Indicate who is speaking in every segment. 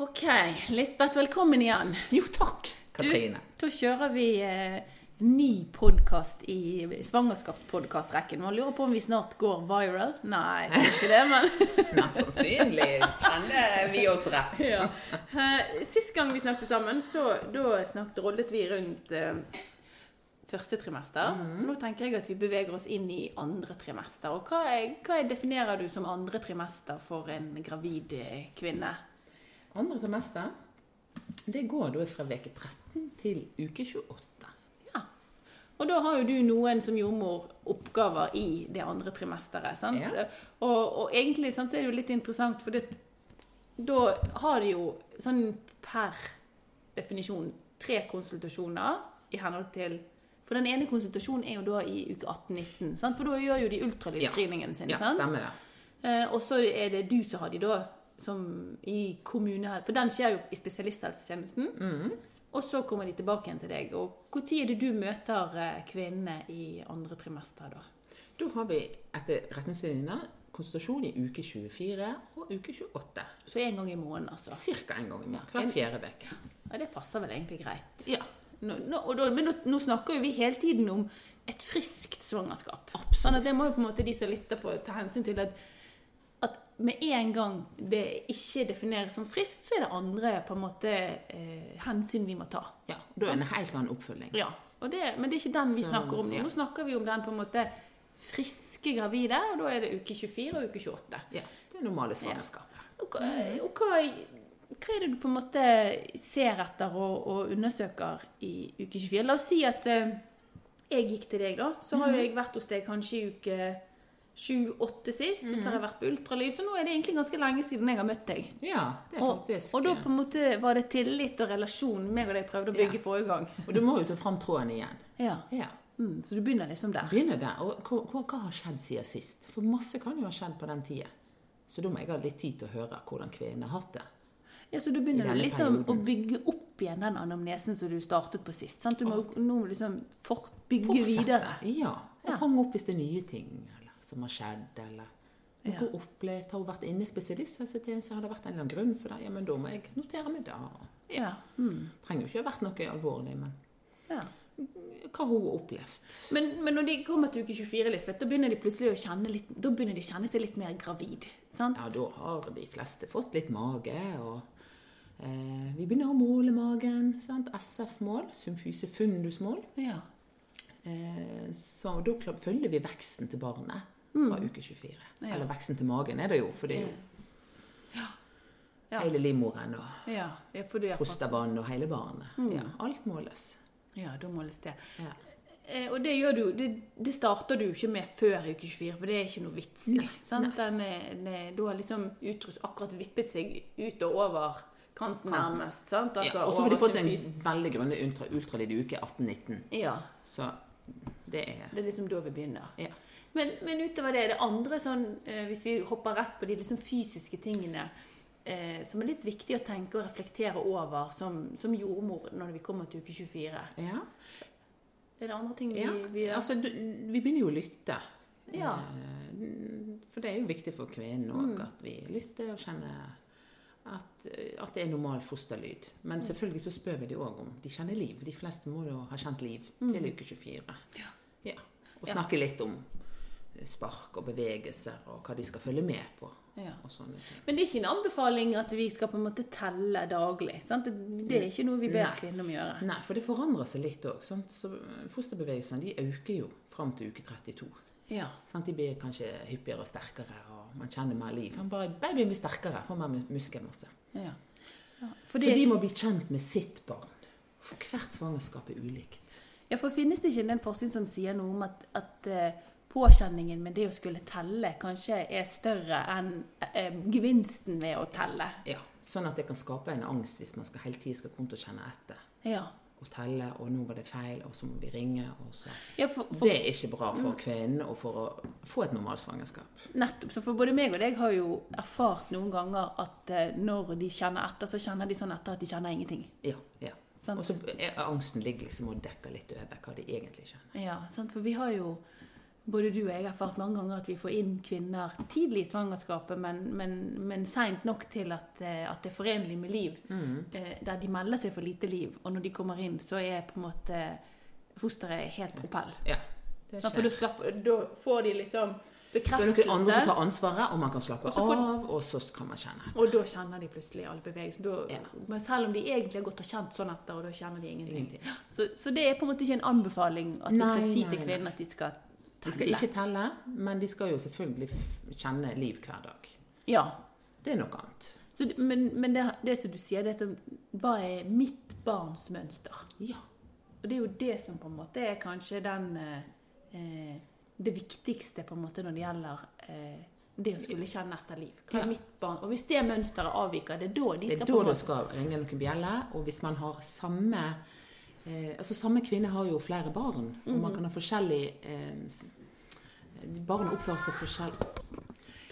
Speaker 1: OK. Lisbeth, velkommen igjen.
Speaker 2: Jo, takk, Katrine.
Speaker 1: Da kjører vi eh, ny podkast i svangerskapspodkastrekken. Man lurer på om vi snart går viral. Nei, kanskje det, men
Speaker 2: Mest sannsynlig kjenner vi oss rett.
Speaker 1: ja. Eh, Sist gang vi snakket sammen, så da snakket, rollet vi rundt eh, første trimester. Nå tenker jeg at vi beveger oss inn i andre trimester. Og hva, er, hva er, definerer du som andre trimester for en gravid eh, kvinne?
Speaker 2: Andre til meste, det går da fra veke 13 til uke 28.
Speaker 1: Ja. Og da har jo du noen som jordmor oppgaver i det andre trimesteret. sant?
Speaker 2: Ja.
Speaker 1: Og, og egentlig sant, så er det jo litt interessant, for det, da har de jo sånn per definisjon tre konsultasjoner i henhold til For den ene konsultasjonen er jo da i uke 18-19, sant? for da gjør jo de ultralydscreeningen sin.
Speaker 2: Ja,
Speaker 1: sant?
Speaker 2: stemmer det.
Speaker 1: Eh, og så er det du som har de da, som i kommunehelse... For den skjer jo i spesialisthelsetjenesten. Og så kommer de tilbake igjen til deg. Og når er det du møter eh, kvinnene i andre trimester da?
Speaker 2: Da har vi etter retningslinjene konsultasjon i uke 24 og uke 28.
Speaker 1: Så én gang i måneden, altså.
Speaker 2: Cirka en gang i måneden. Hver fjerde uke.
Speaker 1: Ja, det passer vel egentlig greit.
Speaker 2: Ja,
Speaker 1: Nå, nå, og da, men nå, nå snakker jo vi hele tiden om et friskt svangerskap. Sånn at det må jo på en måte de som lytter på, ta hensyn til at, at med en gang det ikke defineres som friskt, så er det andre på en måte eh, hensyn vi må ta.
Speaker 2: ja. Da er det en helt annen oppfølging.
Speaker 1: Ja, og det, men det er ikke den vi
Speaker 2: Så,
Speaker 1: snakker om nå.
Speaker 2: ja.
Speaker 1: Nå snakker vi om den på en måte friske gravide, og da er det uke 24 og uke 28.
Speaker 2: Ja, Det normale svangerskapet.
Speaker 1: Og, hva- og hva, hva er det du på en måte ser etter og, og undersøker i uke 24? La oss si at eh, jeg gikk til deg, da. Så
Speaker 2: Mhm.
Speaker 1: har jo jeg vært hos deg kanskje i uke 7-8 sist.
Speaker 2: Mhm.
Speaker 1: og Så har jeg vært på ultralyd, så nå er det egentlig ganske lenge siden jeg har møtt deg.
Speaker 2: Ja, det er
Speaker 1: Og,
Speaker 2: faktisk
Speaker 1: og da på en måte var det tillit og relasjon meg og deg prøvde å bygge forrige gang.
Speaker 2: Og du må jo ta fram tråden igjen.
Speaker 1: Ja.
Speaker 2: Ja.
Speaker 1: Mm, så du begynner liksom der.
Speaker 2: Begynner der. Og hva, hva, hva har skjedd siden sist? For masse kan jo ha skjedd på den tida. Så da må jeg ha litt tid til å høre hvordan kvinnen har hatt det.
Speaker 1: Ja, så du begynner du
Speaker 2: I denne
Speaker 1: liksom å
Speaker 2: perioden.
Speaker 1: bygge opp igjen den anamnesen som du startet på sist. sant? Du må jo nå liksom fort bygge videre.
Speaker 2: Ja. Og
Speaker 1: Ja.
Speaker 2: fange opp hvis det er nye ting eller, som har skjedd, eller noe
Speaker 1: Ja.
Speaker 2: opplevt. Har hun vært inne i spesialisthelsetjenesten, har det vært en eller annen grunn for det? Ja, men da må jeg notere meg det.
Speaker 1: Ja. Mm.
Speaker 2: Trenger jo ikke ha vært noe alvorlig, men
Speaker 1: ja.
Speaker 2: hva har hun opplevd?
Speaker 1: Men, men når de kommer til uke 24, Lisbeth, da begynner de plutselig å kjenne litt, da begynner de å kjenne seg litt mer gravid. sant?
Speaker 2: Ja, da har de fleste fått litt mage, og eh, vi begynner å måle magen. sant? SF-mål, symfyse fundus-mål.
Speaker 1: Ja.
Speaker 2: Eh, Så da kla- følger vi veksten til barnet fra uke 24.
Speaker 1: Mm. Ja.
Speaker 2: Eller veksten til magen er det jo, for det er jo
Speaker 1: Ja.
Speaker 2: hele livmoren og
Speaker 1: Ja, ja, for du er
Speaker 2: prostabanen og hele barnet.
Speaker 1: Mm.
Speaker 2: Ja, alt måles.
Speaker 1: ja, da måles det.
Speaker 2: Ja.
Speaker 1: Eh, og det gjør du det, det starter du jo ikke med før uke 24, for det er ikke noe vits i. sant? Den er- den er- Da har liksom utrus akkurat vippet seg ut og over kanten nærmest. sant? Altså,
Speaker 2: Ja, og så har de
Speaker 1: over
Speaker 2: fått en
Speaker 1: symfysen.
Speaker 2: veldig grundig ultra, ultralyd i uke 18-19.
Speaker 1: Ja.
Speaker 2: Så det er
Speaker 1: Det er liksom da vi begynner.
Speaker 2: ja.
Speaker 1: Men, men utover det, er det andre sånn eh, Hvis vi hopper rett på de liksom fysiske tingene eh, som er litt viktig å tenke og reflektere over som, som jordmor når vi kommer til uke 24.
Speaker 2: ja.
Speaker 1: Er det andre ting vi,
Speaker 2: ja.
Speaker 1: vi
Speaker 2: Altså, du, vi begynner jo å lytte.
Speaker 1: Ja. Mm.
Speaker 2: Eh, For det er jo viktig for kvinnen òg at vi lytter og kjenner at, at det er normal fosterlyd.
Speaker 1: Mm.
Speaker 2: Men selvfølgelig så spør vi de òg om de kjenner liv. De fleste må jo ha kjent liv til uke 24.
Speaker 1: Mm. Ja.
Speaker 2: Ja. Og
Speaker 1: Ja.
Speaker 2: snakke litt om eh, spark og bevegelser og hva de skal følge med på.
Speaker 1: ja.
Speaker 2: Og sånne ting.
Speaker 1: Men det er ikke en anbefaling at vi skal på en måte telle daglig. sant? Det, det er ikke noe vi ber
Speaker 2: Nei.
Speaker 1: kvinnen om å gjøre.
Speaker 2: Nei, for det forandrer seg litt òg. Så fosterbevegelsene de øker jo fram til uke 32.
Speaker 1: Ja.
Speaker 2: Sant? De blir kanskje hyppigere og sterkere, og man kjenner mer liv. Han bare, babyen blir sterkere, får mer mus- muskelmasse.
Speaker 1: ja. ja. For
Speaker 2: Så
Speaker 1: det er
Speaker 2: de
Speaker 1: ikke-
Speaker 2: må bli kjent med sitt barn. For hvert svangerskap er ulikt.
Speaker 1: Ja, for finnes det ikke en del forskning som sier noe om at, at eh, påkjenningen med det å skulle telle kanskje er større enn eh, gevinsten ved å telle?
Speaker 2: Ja, Sånn at det kan skape en angst hvis man skal hele tiden skal komme til å kjenne etter.
Speaker 1: Ja.
Speaker 2: Og telle, og nå var det feil, og så må vi ringe. og så...
Speaker 1: ja for, for, Mm.
Speaker 2: Det er ikke bra for kvinnen og for å få et normalt svangerskap.
Speaker 1: nettopp. Så for både meg og deg har jo erfart noen ganger at eh, når de kjenner etter, så kjenner de sånn etter at de kjenner ingenting.
Speaker 2: Ja, ja.
Speaker 1: Sant.
Speaker 2: Og så er angsten ligger liksom og dekker litt over hva de egentlig kjenner.
Speaker 1: Ja, sant? for vi har jo både du og jeg har erfart mange ganger at vi får inn kvinner tidlig i svangerskapet, men, men, men seint nok til at, eh, at det er forenlig med liv.
Speaker 2: Mm.
Speaker 1: Eh, Der de melder seg for lite liv, og når de kommer inn, så er på en måte fosteret helt propell.
Speaker 2: Ja. Det
Speaker 1: Ja, for da,
Speaker 2: skjer.
Speaker 1: slapper, da får de liksom
Speaker 2: Da er det noen andre som
Speaker 1: bekreftelse,
Speaker 2: tar ansvaret, og man kan slappe
Speaker 1: Og så får-
Speaker 2: av, og så kan man kjenne.
Speaker 1: og da kjenner de plutselig all bevegelse. Da,
Speaker 2: Ja.
Speaker 1: Men selv om de egentlig har gått og kjent sånn etter, og da kjenner de ingenting.
Speaker 2: Ingenting.
Speaker 1: Så, så det er på en måte ikke en anbefaling at vi skal si
Speaker 2: Nei, nei,
Speaker 1: til
Speaker 2: nei.
Speaker 1: kvinnen at de skal
Speaker 2: De skal ikke telle, men de skal jo selvfølgelig f- kjenne liv hver dag.
Speaker 1: Ja.
Speaker 2: Det er noe annet.
Speaker 1: Så, det- men men det, det som du sier, det er at hva er mitt barns mønster?
Speaker 2: Ja.
Speaker 1: Og det er jo det som på en måte er kanskje den eh, eh, Det viktigste på en måte når det gjelder eh, det å skulle kjenne etter liv. Hva er
Speaker 2: Ja.
Speaker 1: mitt barn? Og hvis det mønsteret avviker, det er da de
Speaker 2: Det er
Speaker 1: skal på
Speaker 2: da
Speaker 1: en
Speaker 2: det
Speaker 1: måte
Speaker 2: skal ringe noen bjeller, og hvis man har samme eh, Altså samme kvinne har jo flere barn, og
Speaker 1: Mhm.
Speaker 2: man kan ha forskjellig eh, s- Barna oppfører seg forskjellig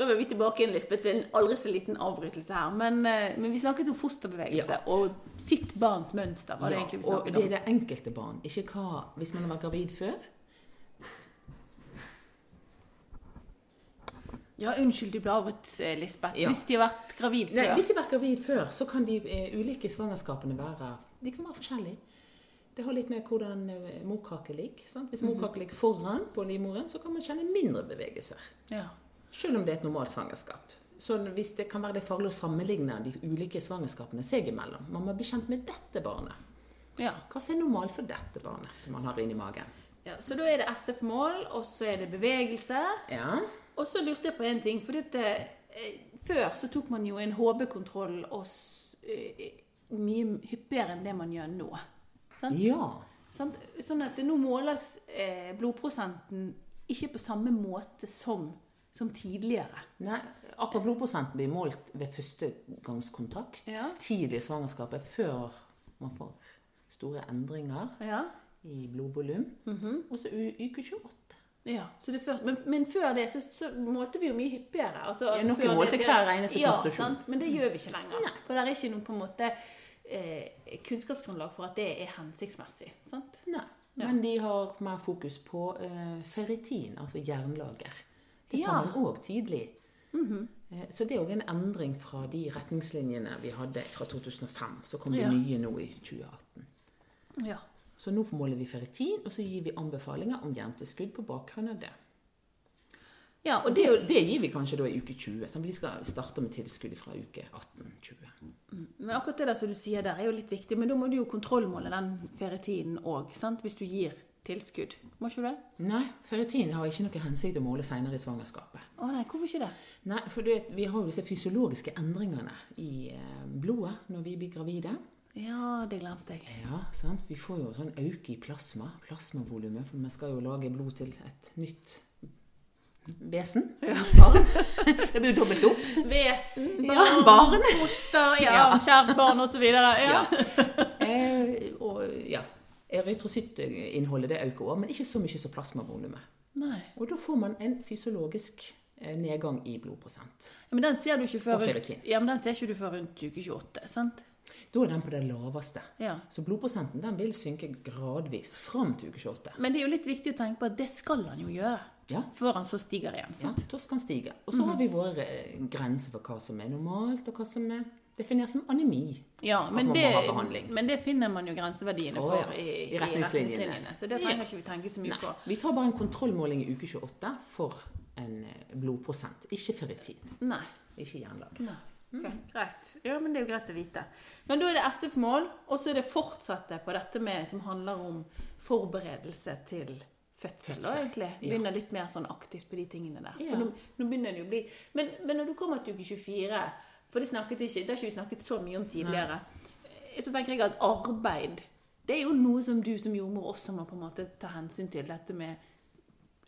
Speaker 1: Da var vi tilbake igjen, Lisbeth, til en aldri så liten avbrytelse her. Men, eh, men vi snakket om fosterbevegelse og sitt barns mønster. var det
Speaker 2: Ja,
Speaker 1: egentlig vi
Speaker 2: og
Speaker 1: snakket
Speaker 2: det
Speaker 1: om.
Speaker 2: er det enkelte barn, ikke hva Hvis man har vært gravid før
Speaker 1: Ja, unnskyld, du ble avbrutt, eh, Lisbeth.
Speaker 2: Ja.
Speaker 1: Hvis de har vært gravid
Speaker 2: Nei,
Speaker 1: før.
Speaker 2: Hvis de har vært gravid før, så kan de eh, ulike svangerskapene være De kan være forskjellige. Det har litt med hvordan eh, morkake ligger. Sant? Hvis morkake ligger foran på livmoren, så kan man kjenne mindre bevegelser.
Speaker 1: Ja.
Speaker 2: Selv om det er et normalt svangerskap. Så hvis det kan være det er farlig å sammenligne de ulike svangerskapene seg imellom. Man må bli kjent med dette barnet.
Speaker 1: Ja.
Speaker 2: Hva som er normalt for dette barnet som man har inni magen?
Speaker 1: ja. Så da er det SF-mål, og så er det bevegelse.
Speaker 2: Ja,
Speaker 1: Og så lurte jeg på en ting, for dette, eh, før så tok man jo en HB-kontroll og s- eh, mye hyppigere enn det man gjør nå. Sant?
Speaker 2: ja.
Speaker 1: Sant? Sånn at det nå måles eh, blodprosenten ikke på samme måte som, som tidligere.
Speaker 2: Nei, akkurat blodprosenten blir målt ved førstegangskontakt.
Speaker 1: Ja.
Speaker 2: Tidlig i svangerskapet, før man får store endringer
Speaker 1: Ja,
Speaker 2: i blodvolum.
Speaker 1: Mhm.
Speaker 2: Og så u- uke 28.
Speaker 1: ja. Så det før, men, men før det så, så målte vi jo mye hyppigere. Altså,
Speaker 2: Ja, noen
Speaker 1: før det
Speaker 2: målte
Speaker 1: så-
Speaker 2: hver eneste
Speaker 1: ja,
Speaker 2: konstitusjon.
Speaker 1: sant? Men det gjør vi ikke lenger. For det er ikke noe på en måte eh, kunnskapsgrunnlag for at det er hensiktsmessig. Sant?
Speaker 2: Nei. Men de har mer fokus på eh, ferritin, altså jernlager. Det tar
Speaker 1: Ja. Mhm.
Speaker 2: man òg tidlig. Eh, Så det er òg en endring fra de retningslinjene vi hadde fra 2005. Så kom de
Speaker 1: Ja.
Speaker 2: nye nå i 2018.
Speaker 1: Ja.
Speaker 2: Så nå måler vi ferritin, og så gir vi anbefalinger om jerntilskudd på bakgrunn av det.
Speaker 1: Ja,
Speaker 2: Og
Speaker 1: og
Speaker 2: det,
Speaker 1: det er jo
Speaker 2: det gir vi kanskje da i uke 20, så vi skal starte med tilskudd fra uke 18-20.
Speaker 1: Men akkurat det der som du sier der, er jo litt viktig. Men da må du jo kontrollmåle den ferietiden òg, sant? Hvis du gir tilskudd. Må ikke du det?
Speaker 2: Nei, ferritin har ikke noe hensikt å måle senere i svangerskapet.
Speaker 1: Å nei, hvorfor ikke det?
Speaker 2: Nei, for det, vi har jo disse fysiologiske endringene i eh, blodet når vi blir gravide.
Speaker 1: Ja, det glemte jeg.
Speaker 2: Ja, sant? Vi får jo sånn øke i plasma, plasmavolumet, for man skal jo lage blod til et nytt vesen. Barn. Det blir jo dobbelt opp.
Speaker 1: Vesen,
Speaker 2: Ja, barn.
Speaker 1: foster, ja,
Speaker 2: Ja.
Speaker 1: kjært barn osv. Ja.
Speaker 2: Ja. Eh, og ja, erytrocytinnholdet det øker også, men ikke så mye som plasmavolumet.
Speaker 1: Nei.
Speaker 2: Og da får man en fysiologisk eh, nedgang i blodprosent.
Speaker 1: Ja, Men den ser du ikke før
Speaker 2: Og
Speaker 1: rundt,
Speaker 2: ferritin.
Speaker 1: ja, men den ser ikke du før rundt uke 28, sant?
Speaker 2: Da er den på det laveste.
Speaker 1: Ja.
Speaker 2: Så blodprosenten den vil synke gradvis fram til uke 28.
Speaker 1: Men det er jo litt viktig å tenke på at det skal han jo gjøre.
Speaker 2: Ja.
Speaker 1: Før han så stiger igjen.
Speaker 2: Ja,
Speaker 1: Sant?
Speaker 2: torsk kan stige. Og så har vi våre eh, grenser for hva som er normalt, og hva som er definert som anemi.
Speaker 1: Ja,
Speaker 2: At
Speaker 1: men
Speaker 2: man må
Speaker 1: det,
Speaker 2: ha behandling.
Speaker 1: men det finner man jo grenseverdiene
Speaker 2: Å,
Speaker 1: for
Speaker 2: ja.
Speaker 1: i,
Speaker 2: I retningslinjene.
Speaker 1: Så det
Speaker 2: Ja.
Speaker 1: trenger ikke vi tenke så mye
Speaker 2: Nei.
Speaker 1: på.
Speaker 2: Vi tar bare en kontrollmåling i uke 28 for en eh, blodprosent. Ikke ferritin,
Speaker 1: Nei.
Speaker 2: ikke jernlag.
Speaker 1: Nei.
Speaker 2: Mm.
Speaker 1: Ok, Greit. Ja, men det er jo greit å vite. Men da er det SF-mål, og så er det fortsatte på dette med som handler om forberedelse til fødsel, da,
Speaker 2: Fødsel,
Speaker 1: egentlig.
Speaker 2: ja.
Speaker 1: Begynner litt mer sånn aktivt på de tingene der.
Speaker 2: Ja.
Speaker 1: For nå, nå begynner det jo å bli men, men når du kommer til uke 24, for det snakket ikke, det har ikke vi snakket så mye om tidligere, så tenker jeg at arbeid det er jo noe som du som jordmor også må på en måte ta hensyn til. Dette med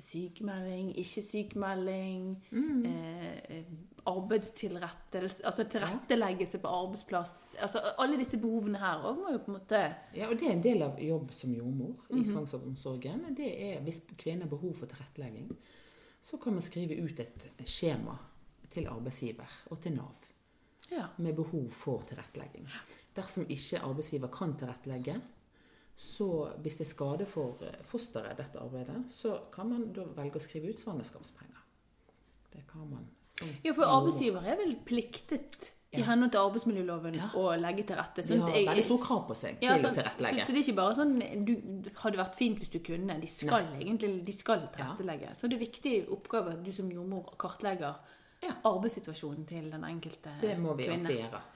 Speaker 1: sykemelding, ikke sykemelding,
Speaker 2: Mm.
Speaker 1: eh, arbeidstilrettelse, altså tilretteleggelse på arbeidsplass. Altså alle disse behovene her òg må jo på en måte
Speaker 2: Ja, og det er en del av jobb som jordmor
Speaker 1: Mhm.
Speaker 2: i svangerskapsomsorgen. Det er hvis kvinnen har behov for tilrettelegging, så kan man skrive ut et skjema til arbeidsgiver og til Nav.
Speaker 1: Ja.
Speaker 2: med behov for tilrettelegging. Dersom ikke arbeidsgiver kan tilrettelegge, Så hvis det er skade for eh, fosteret, dette arbeidet, så kan man da velge å skrive ut svangerskapspenger. Det kan man. som-
Speaker 1: Ja, for arbeidsgiver er vel pliktet i
Speaker 2: Ja.
Speaker 1: henhold til arbeidsmiljøloven
Speaker 2: Ja.
Speaker 1: å legge til rette.
Speaker 2: De
Speaker 1: sant?
Speaker 2: har
Speaker 1: Jeg-
Speaker 2: veldig stor krav på seg til
Speaker 1: Ja,
Speaker 2: å
Speaker 1: sant.
Speaker 2: tilrettelegge.
Speaker 1: Så, så det er ikke bare sånn du, 'Hadde vært fint hvis du kunne.' De skal egentlig de skal tilrettelegge. Så det er viktig oppgave at du som jordmor kartlegger
Speaker 2: Ja.
Speaker 1: arbeidssituasjonen til den enkelte
Speaker 2: Det må vi
Speaker 1: kvinne.
Speaker 2: alltid gjøre.